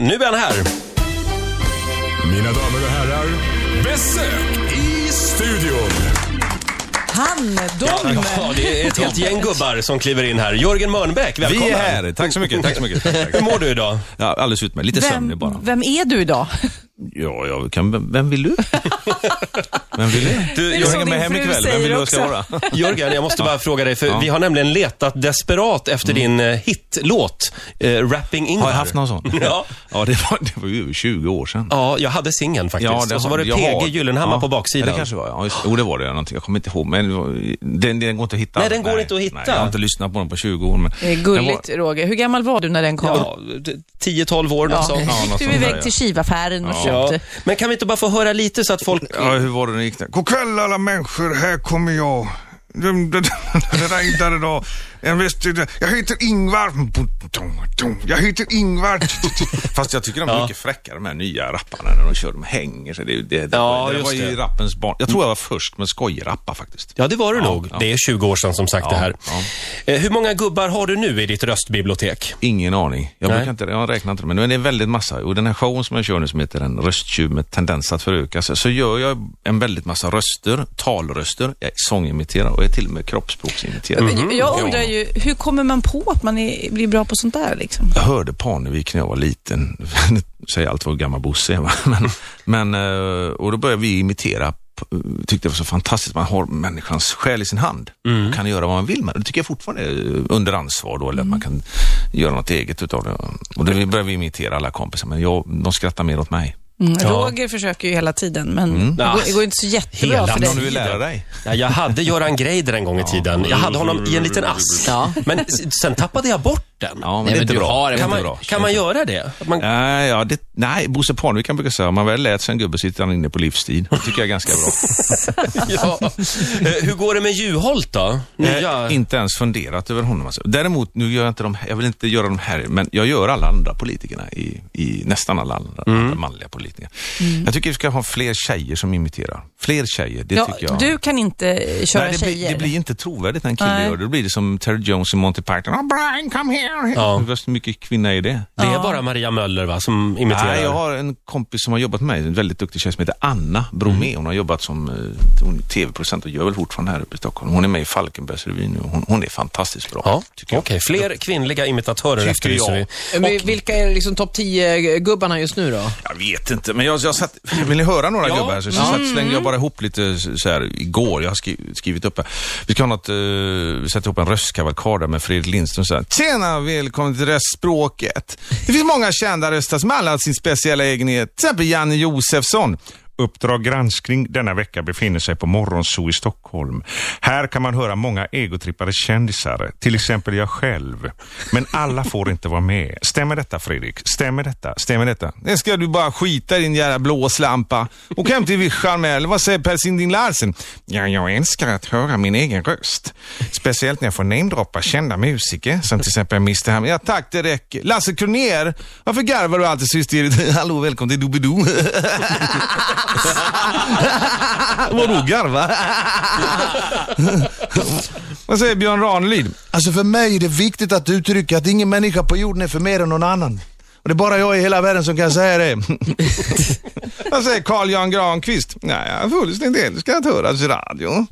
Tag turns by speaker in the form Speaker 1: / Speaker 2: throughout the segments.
Speaker 1: är han här.
Speaker 2: Mina damer och herrar, besök i studion.
Speaker 3: Han, de.
Speaker 1: Ja, det är ett helt gäng gubbar som kliver in här. Jörgen Mörnbäck, välkommen.
Speaker 4: Vi är här. Tack så mycket. Tack så mycket. Tack,
Speaker 1: Hur
Speaker 4: tack.
Speaker 1: mår du idag?
Speaker 4: Ja, alldeles utmärkt. Lite sömnig
Speaker 3: Vem,
Speaker 4: bara.
Speaker 3: vem är du idag?
Speaker 4: Ja, jag kan, vem, vem vill du? Vem vill du?
Speaker 1: Du,
Speaker 3: är
Speaker 4: Jag
Speaker 3: som
Speaker 4: hänger
Speaker 3: din
Speaker 4: med hem
Speaker 3: fru
Speaker 4: ikväll. Vem
Speaker 3: säger
Speaker 4: vill du jag ska
Speaker 3: också.
Speaker 4: vara?
Speaker 1: Jörgen, jag måste bara fråga dig, för vi har nämligen letat desperat efter din eh, hitlåt, eh, Rapping Ingvar.
Speaker 4: Mm. Har jag haft någon sån?
Speaker 1: Ja.
Speaker 4: Ja, det var, det var ju över 20 år sedan.
Speaker 1: Ja, jag hade singeln faktiskt. och så var det
Speaker 4: jag har-
Speaker 1: PG Gyllenhammar
Speaker 4: ja,
Speaker 1: på
Speaker 4: Ja,
Speaker 1: baksidan.
Speaker 4: det kanske var, ja. Just, jo, det var det. Någonting. Jag kommer inte ihåg, men det var- den, den går inte att hitta.
Speaker 1: Nej, den går inte att hitta.
Speaker 4: Nej, jag har inte lyssnat på den på 20 år. Men
Speaker 3: Det är gulligt, Roger. Hur gammal var du när den kom?
Speaker 1: Ja, 10-12 år, något sånt.
Speaker 4: Ja, något
Speaker 3: Gick du
Speaker 4: sånt där,
Speaker 3: iväg
Speaker 4: ja.
Speaker 3: till Kivaffären och
Speaker 1: Ja.
Speaker 3: köpte?
Speaker 1: Men kan vi inte bara få höra lite så att folk...
Speaker 4: Den var, ja, hur var det den gick? Den?
Speaker 5: God kväll alla människor, här kommer jag. Dum, dum, dum, Det där hittade idag. En väst- Jag heter Ingvar. Jag heter Ingvar.
Speaker 4: Fast jag tycker de är mycket fräckare, de här nya rapparna, när de kör, de hänger sig. Det, det, det,
Speaker 1: Ja,
Speaker 4: det var
Speaker 1: just
Speaker 4: ju
Speaker 1: det. Mm.
Speaker 4: rappens barn. Jag tror jag var först med skojrappa faktiskt.
Speaker 1: Ja, det var du
Speaker 4: Ja,
Speaker 1: nog.
Speaker 4: ja.
Speaker 1: Det är 20 år sedan som sagt det här.
Speaker 4: ja.
Speaker 1: Eh, Hur många gubbar har du nu i ditt röstbibliotek?
Speaker 4: Ingen aning. Jag,
Speaker 1: Nej.
Speaker 4: brukar inte, jag räknar inte det, men det är en väldigt massa. Och den här showen som jag kör nu som heter En rösttjuv med tendens att föröka sig, så gör jag en väldigt massa röster, talröster, jag sångimiterar och jag är till och med kroppsspråksimiterar.
Speaker 1: Mm-hmm.
Speaker 3: Jag undrar ju, hur kommer man på att man är, blir bra på sånt där liksom?
Speaker 4: Jag hörde Parnevik när jag var liten, Nu säger jag allt vad gammal Bosse är, va? men, men, eh, och då började vi imitera tyckte det var så fantastiskt. Man har människans själ i sin hand och kan göra vad man vill med det. Det tycker jag fortfarande är eh, under ansvar då, eller att man kan göra något eget utav det. Och då började vi imitera alla kompisar, men jag, de skrattar mer åt mig.
Speaker 3: Mm. Roger försöker ju hela tiden, men
Speaker 4: Mm.
Speaker 3: det, går, det går inte så jättebra
Speaker 1: Hela
Speaker 3: för
Speaker 1: tiden.
Speaker 3: dig.
Speaker 4: Om du vill lära dig.
Speaker 1: Ja, jag hade Göran Greider en gång i tiden. Jag hade honom i en liten ask.
Speaker 6: Ja.
Speaker 1: Men s- sen tappade jag bort den.
Speaker 4: Ja, men
Speaker 6: Nej,
Speaker 4: det är
Speaker 6: men
Speaker 4: inte
Speaker 6: du
Speaker 4: bra.
Speaker 6: har
Speaker 4: det
Speaker 6: en-
Speaker 4: är
Speaker 1: Kan
Speaker 4: inte
Speaker 1: man,
Speaker 4: bra.
Speaker 1: kan man göra det? Att Man,
Speaker 4: Nej, ja, det, nej, Bosse Parnevik kan brukar säga, om man väl lät sig en gubbe sitter han inne på livstid. Det tycker jag är ganska bra.
Speaker 1: ja. Eh, Hur går det med Juholt då? Nya...
Speaker 4: Eh, inte ens funderat över honom. Alltså. Däremot, nu gör jag inte de jag vill inte göra de här, men jag gör alla andra politikerna i, i nästan alla andra,
Speaker 1: Mm.
Speaker 4: andra manliga politiker.
Speaker 3: Mm.
Speaker 4: Jag tycker vi ska ha fler tjejer som imiterar. Fler tjejer, det
Speaker 3: Ja,
Speaker 4: tycker jag.
Speaker 3: du kan inte eh, köra
Speaker 4: Nej, det, blir,
Speaker 3: tjejer.
Speaker 4: det blir inte trovärdigt när en kille
Speaker 3: Nej.
Speaker 4: gör det. Då blir det som Terry Jones i Monty Python. Oh, Brian, come here!
Speaker 1: Ja.
Speaker 4: Hur mycket kvinna är det?
Speaker 1: Det är bara Maria Möller va, som imiterar?
Speaker 4: Nej, jag har en kompis som har jobbat med mig, en väldigt duktig tjej som heter Anna
Speaker 1: Mm.
Speaker 4: Bromé. Hon har jobbat som eh, hon är tv-producent och gör väl fortfarande här uppe i Stockholm. Hon är med i Falkenbergsrevyn nu. Hon, hon är fantastiskt bra.
Speaker 1: Ja,
Speaker 4: tycker
Speaker 1: okej.
Speaker 4: jag.
Speaker 1: Fler kvinnliga imitatörer
Speaker 4: Tycker
Speaker 1: efterlyser
Speaker 4: jag.
Speaker 1: vi.
Speaker 6: Men vilka är liksom topp 10-gubbarna just nu då?
Speaker 4: Jag vet inte, men jag, jag satt, vill ni höra några gubbar? här? Så, så satt, slängde jag bara ihop lite så här igår, jag har skri- skrivit upp här. Vi ska ha något, eh, vi sätter ihop en röstkavalkad där med Fredrik Lindström så här. Tjena, välkommen till röstspråket. Det finns många kända röster som alla har sin speciella egenhet. Till exempel Janne Josefsson.
Speaker 5: Uppdrag granskning denna vecka befinner sig på Morgonzoo i Stockholm. Här kan man höra många egotrippade kändisar, till exempel jag själv. Men alla får inte vara med. Stämmer detta Fredrik? Stämmer detta?
Speaker 4: Stämmer detta? Det ska du bara skita i din jävla blåslampa. Och hem till vischan med, eller vad säger Per Sinding Larsen? Ja, jag älskar att höra min egen röst. Speciellt när jag får namedroppa kända musiker, som till exempel Mr Ham. Ja tack, det räcker. Lasse Kronér, varför garvar du alltid så hysteriskt? Hallå, välkommen till Doobidoo. Vadå garva? vad säger Björn Ranelid?
Speaker 7: Alltså för mig är det viktigt att uttrycka att ingen människa på jorden är för mer än någon annan. Och det är bara jag i hela världen som kan säga det.
Speaker 4: Vad säger Carl Jan Granqvist? Nej, jag är fullständigt älskar att höras i radio.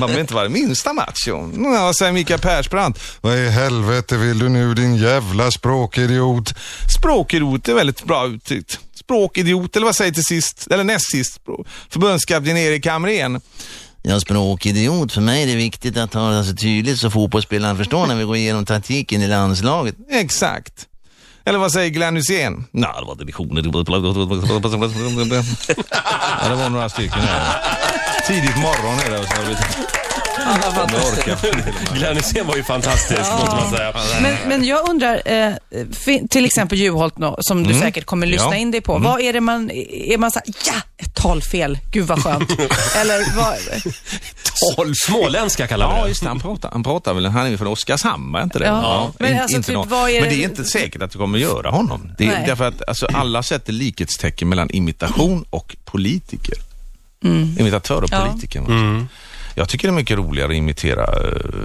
Speaker 4: Man vill inte vara det minsta macho. Ja, Vad säger Mikael Persbrandt?
Speaker 7: Vad i helvete vill du nu din jävla språkidiot?
Speaker 4: Språkidiot är väldigt bra uttryckt. Språkidiot, eller vad säger till sist, eller näst sist, förbundskapten Erik Hamrén.
Speaker 8: Jag är språkidiot. För mig är det viktigt att tala så tydligt så fotbollsspelaren förstår när vi går igenom taktiken i landslaget.
Speaker 4: Exakt. Eller vad säger Glenn Hysén? Nej, det var divisioner. ja, det var några stycken här. Tidigt morgon är det. och så har vi- Om jag orkar.
Speaker 1: Glenn Hysén var ju fantastisk, måste man säga.
Speaker 3: Men, men jag undrar, eh, fin- till exempel Juholt nå, som du säkert kommer lyssna
Speaker 4: Mm. Ja. Mm.
Speaker 3: in dig på. Vad är det man, är man såhär, ja, ett talfel, gud vad skönt. Eller vad,
Speaker 1: Småländska kallar vi
Speaker 4: Ja,
Speaker 1: det.
Speaker 4: just det. Han pratar, han pratar väl, han är från Oskarshamn, är inte det?
Speaker 3: Ja. Men
Speaker 4: In-
Speaker 3: alltså,
Speaker 4: inte
Speaker 3: typ,
Speaker 4: någon-
Speaker 3: vad är
Speaker 4: men
Speaker 3: det-
Speaker 4: det är inte säkert att det kommer att göra honom. Det
Speaker 3: Nej.
Speaker 4: är, därför att alltså, alla sätter likhetstecken mellan imitation och politiker. Imitatör och
Speaker 3: Mm. Ja.
Speaker 4: politiker.
Speaker 1: Mm.
Speaker 4: Alltså. Jag tycker det är mycket roligare att imitera eh,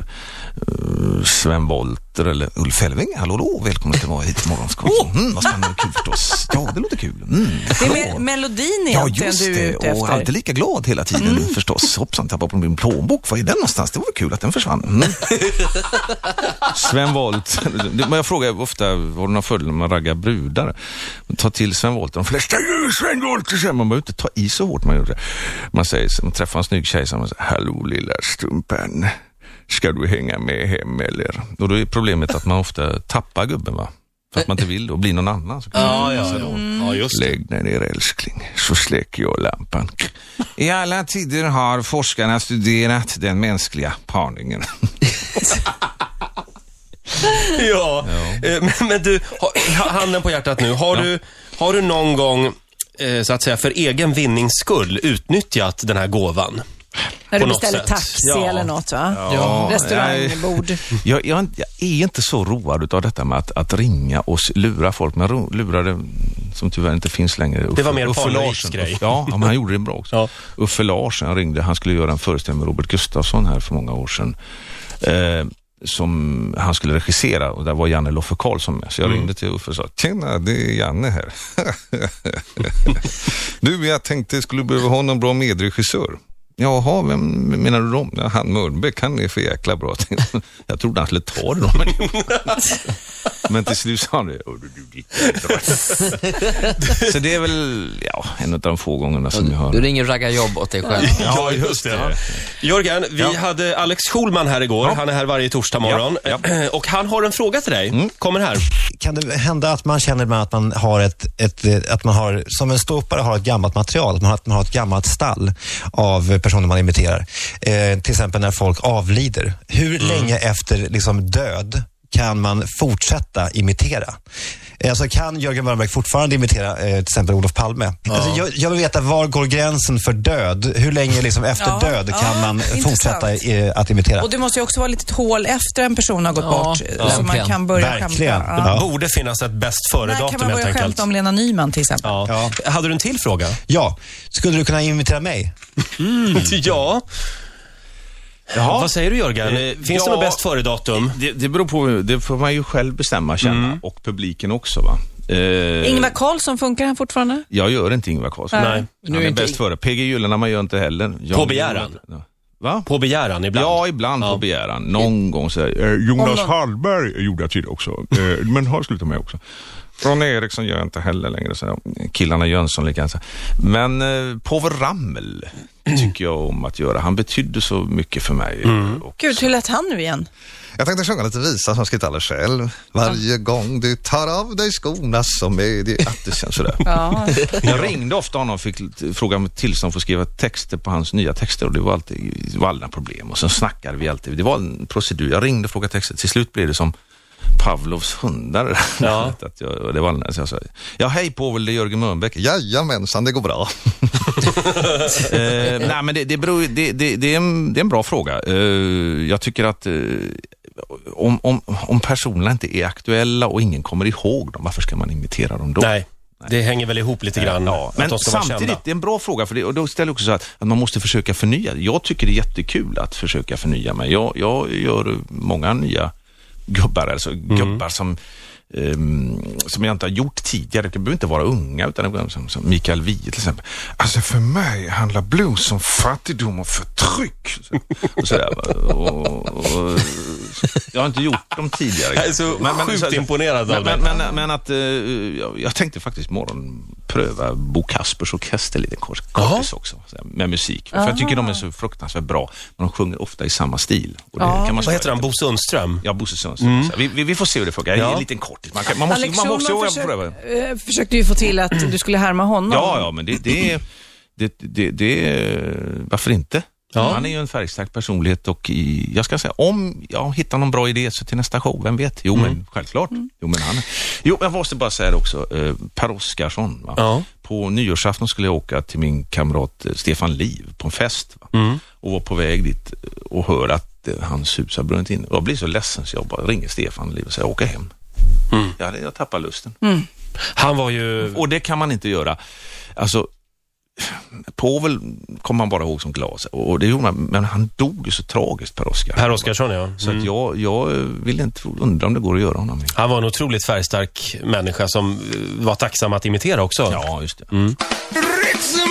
Speaker 4: eh, Sven Wollter Petter eller Ulf Elfving. Hallå, hallå, välkommen till vara hit i morgonskvart. Mm, vad spännande och kul förstås. Ja, det låter kul. Mm.
Speaker 3: Det är me- melodin
Speaker 4: Ja,
Speaker 3: egentligen
Speaker 4: just
Speaker 3: du är
Speaker 4: det.
Speaker 3: ute
Speaker 4: Och
Speaker 3: efter. Mm.
Speaker 4: alltid lika glad hela tiden förstås. Hoppsan, tappade på min plånbok. Var är den någonstans? Det var kul att den försvann. Mm. Sven Wollter. Men jag frågar ofta, har du några fördelar med att ragga brudar? Ta till Sven Wollter. De flesta gör Sven Wollter. säger Man behöver inte ta i så hårt man gör det. Man säger, man träffar en snygg tjej, så man säger, hallå lilla strumpan. Ska du hänga med hem eller? Och då är problemet att man ofta tappar gubben va? För att man inte vill och blir någon annan. Så kan man-
Speaker 1: Ja, ja, ja.
Speaker 4: Mm.
Speaker 1: ja just det.
Speaker 4: Lägg dig ner älskling, så släcker jag lampan. I alla tider har forskarna studerat den mänskliga parningen.
Speaker 1: Ja. Eh, Men, men du, ha- ha, handen på hjärtat nu. Har, du, har du någon gång, eh, så att säga, för egen vinnings skull utnyttjat den här gåvan?
Speaker 3: När
Speaker 1: på
Speaker 3: du
Speaker 1: något
Speaker 3: beställer
Speaker 1: sätt.
Speaker 3: taxi
Speaker 1: Ja.
Speaker 3: eller något va?
Speaker 4: Ja,
Speaker 3: Restaurangbord.
Speaker 4: Jag, jag, jag är inte så road av detta med att, att ringa och s- lura folk. Men ro- lurade, som tyvärr inte finns längre, Uffe,
Speaker 1: Det var mer
Speaker 4: Uffe
Speaker 1: Parneviks
Speaker 4: Larsson.
Speaker 1: grej.
Speaker 4: Ja, ja, men han gjorde det bra också.
Speaker 1: Ja.
Speaker 4: Uffe Larsson ringde, han skulle göra en föreställning med Robert Gustafsson här för många år sedan. Eh, som han skulle regissera och där var Janne Loffe Karlsson med. Så jag ringde till Uffe och sa, tjena det är Janne här. du, jag tänkte jag skulle behöva ha någon bra medregissör. Jaha, vem menar du då? Ja, han Mörnbäck, han är för jäkla bra. Jag trodde han skulle ta det då, men, men till slut sa han det. "Åh, du, du, ditt jädra." Så det är väl ja, en av de få gångerna som jag har...
Speaker 6: Du ringer raggarjobb åt dig själv.
Speaker 1: Ja, just det. Jörgen, vi hade Alex Schulman här igår. Han är här varje torsdag morgon. Och han har en fråga till dig. Kommer här.
Speaker 9: Kan det hända att man känner med att man har ett, ett eh, att man har, som en ståuppare har ett gammalt material, att man har, att man har ett gammalt stall av eh, personer man imiterar. Eh, till exempel när folk avlider. Hur
Speaker 3: Mm.
Speaker 9: länge efter liksom, död kan man fortsätta imitera? Eh, Alltså kan Jörgen Wallberg fortfarande imitera eh, till exempel Olof Palme? Alltså, jag, jag vill veta, var går gränsen för död? Hur länge liksom, efter
Speaker 3: Ja,
Speaker 9: död kan
Speaker 3: ja,
Speaker 9: man
Speaker 3: intressant.
Speaker 9: fortsätta eh, att imitera?
Speaker 3: Och det måste ju också vara lite hål efter en person har gått
Speaker 6: Ja,
Speaker 3: bort. så man
Speaker 6: verkligen.
Speaker 3: kan börja
Speaker 9: Verkligen.
Speaker 3: skämta.
Speaker 9: Ja.
Speaker 1: Borde finnas ett bäst
Speaker 3: När kan
Speaker 1: före-datum
Speaker 3: man
Speaker 1: helt
Speaker 3: börja
Speaker 1: enkelt.
Speaker 3: skämta om Lena Nyman till exempel?
Speaker 1: Ja. Mm. Hade du en till fråga?
Speaker 9: Ja, skulle du kunna imitera mig?
Speaker 1: Mm. Ja. Vad säger du Jörgen? Finns det
Speaker 4: ja.
Speaker 1: något bäst före-datum?
Speaker 4: Det, det beror på, det får man ju själv bestämma känna
Speaker 1: Mm.
Speaker 4: och publiken också va. Eh,
Speaker 3: Ingvar Carlsson, funkar han fortfarande?
Speaker 4: Jag gör inte Ingvar Carlsson.
Speaker 1: Nej.
Speaker 4: Han är bäst före. PG Gyllenhammar gör inte heller. Jan-
Speaker 1: På begäran.
Speaker 4: Va?
Speaker 1: På begäran ibland?
Speaker 4: Ja, ibland på begäran. Någon gång så här, eh, Jonas
Speaker 3: Om någon-
Speaker 4: Hallberg gjorde jag tidigare också, eh, men har slutat med också. Ron Eriksson gör jag inte heller längre. Så här, killarna Jönsson likadant. så här. Men eh, Povel Ramel tycker jag om att göra. Han betydde så mycket för mig.
Speaker 1: Mm.
Speaker 4: Och
Speaker 3: Gud, hur lät han nu igen?
Speaker 10: Jag tänkte sjunga lite visa som jag skrivit alldeles själv. Varje gång du tar av dig skorna så medger att
Speaker 4: det känns sådär.
Speaker 3: Ja.
Speaker 4: Jag ringde ofta honom och fick lite- fråga om tillstånd för att skriva texter på hans nya texter och det var alltid det var alla problem och sen snackade vi alltid. Det var en procedur. Jag ringde och frågade texter. Till slut blev det som Pavlovs hundar.
Speaker 1: Ja.
Speaker 4: att jag, och det var, så jag sa, ja hej Povel, det är Jörgen Mörnbäck.
Speaker 10: jajamensan, det går bra.
Speaker 4: Eh, nej, men det, det, beror, ju- det, det, det, är en, det är en bra fråga. Eh, jag tycker att eh, om, om, om personerna inte är aktuella och ingen kommer ihåg dem, varför ska man imitera dem då?
Speaker 1: Nej. Det hänger väl ihop lite grann.
Speaker 4: Ja,
Speaker 1: att
Speaker 4: men
Speaker 1: de ska vara
Speaker 4: samtidigt,
Speaker 1: kända.
Speaker 4: det är en bra fråga, för det, och då ställer jag också så att, att man måste försöka förnya. Jag tycker det är jättekul att försöka förnya mig. Jag, jag gör många nya gubbar, alltså
Speaker 1: Mm.
Speaker 4: gubbar som ehm, som jag inte har gjort tidigare. Det behöver inte vara unga, utan som, som Mikael Wiehe till exempel.
Speaker 5: Alltså för mig handlar blues om fattigdom och förtryck.
Speaker 4: Och sådär, va. och, och, jag har inte gjort dem tidigare.
Speaker 1: Jag är så sjukt imponerad av
Speaker 4: men,
Speaker 1: dig.
Speaker 4: men, men, men att eh, jag, jag tänkte faktiskt imorgon pröva Bo Kaspers orkester lite kort, kortis också, sådär, med musik. För jag tycker de är så fruktansvärt bra, men de sjunger ofta i samma stil. Och det kan man
Speaker 1: Vad heter Mm. han? Bo Sundström?
Speaker 4: Ja, Bosse Sundström. Så här, Vi, vi, vi får se hur det funkar. Det är En liten kortis. Man, kan, man måste,
Speaker 3: Alex
Speaker 4: man måste
Speaker 3: Schulman
Speaker 4: våga pröva.
Speaker 3: försök, eh, försökte ju få till att du skulle härma honom.
Speaker 4: Ja, ja, men det, det, är- det, det, det är- varför inte?
Speaker 1: Ja.
Speaker 4: Han är ju en färgstark personlighet och i, jag ska säga, om jag hittar någon bra idé så till nästa show, vem vet? Jo,
Speaker 1: Mm.
Speaker 4: men självklart. Jo, men han jo, jag måste bara säga det också, eh, Per Oscarsson. Va?
Speaker 1: Ja.
Speaker 4: På nyårsafton skulle jag åka till min kamrat eh, Stefan Liv på en fest va?
Speaker 1: Mm.
Speaker 4: och var på väg dit och hör att eh, hans hus har brunnit in. Och Jag blir så ledsen så jag bara ringer Stefan Liv och säger, åka hem.
Speaker 1: Mm.
Speaker 4: Ja, det- jag tappar lusten.
Speaker 1: Han var ju...
Speaker 4: Och det kan man inte göra. Alltså, Povel kommer man bara ihåg som glas och det gjorde man, men han dog ju så tragiskt Per Oscar.
Speaker 1: Per Oscarsson, ja.
Speaker 4: Så att jag, jag vill inte undra om det går att göra honom.
Speaker 1: Han var en otroligt färgstark människa som eh, var tacksam att imitera också.
Speaker 4: Ja, just det.
Speaker 1: Mm.
Speaker 2: Ritzemorgon!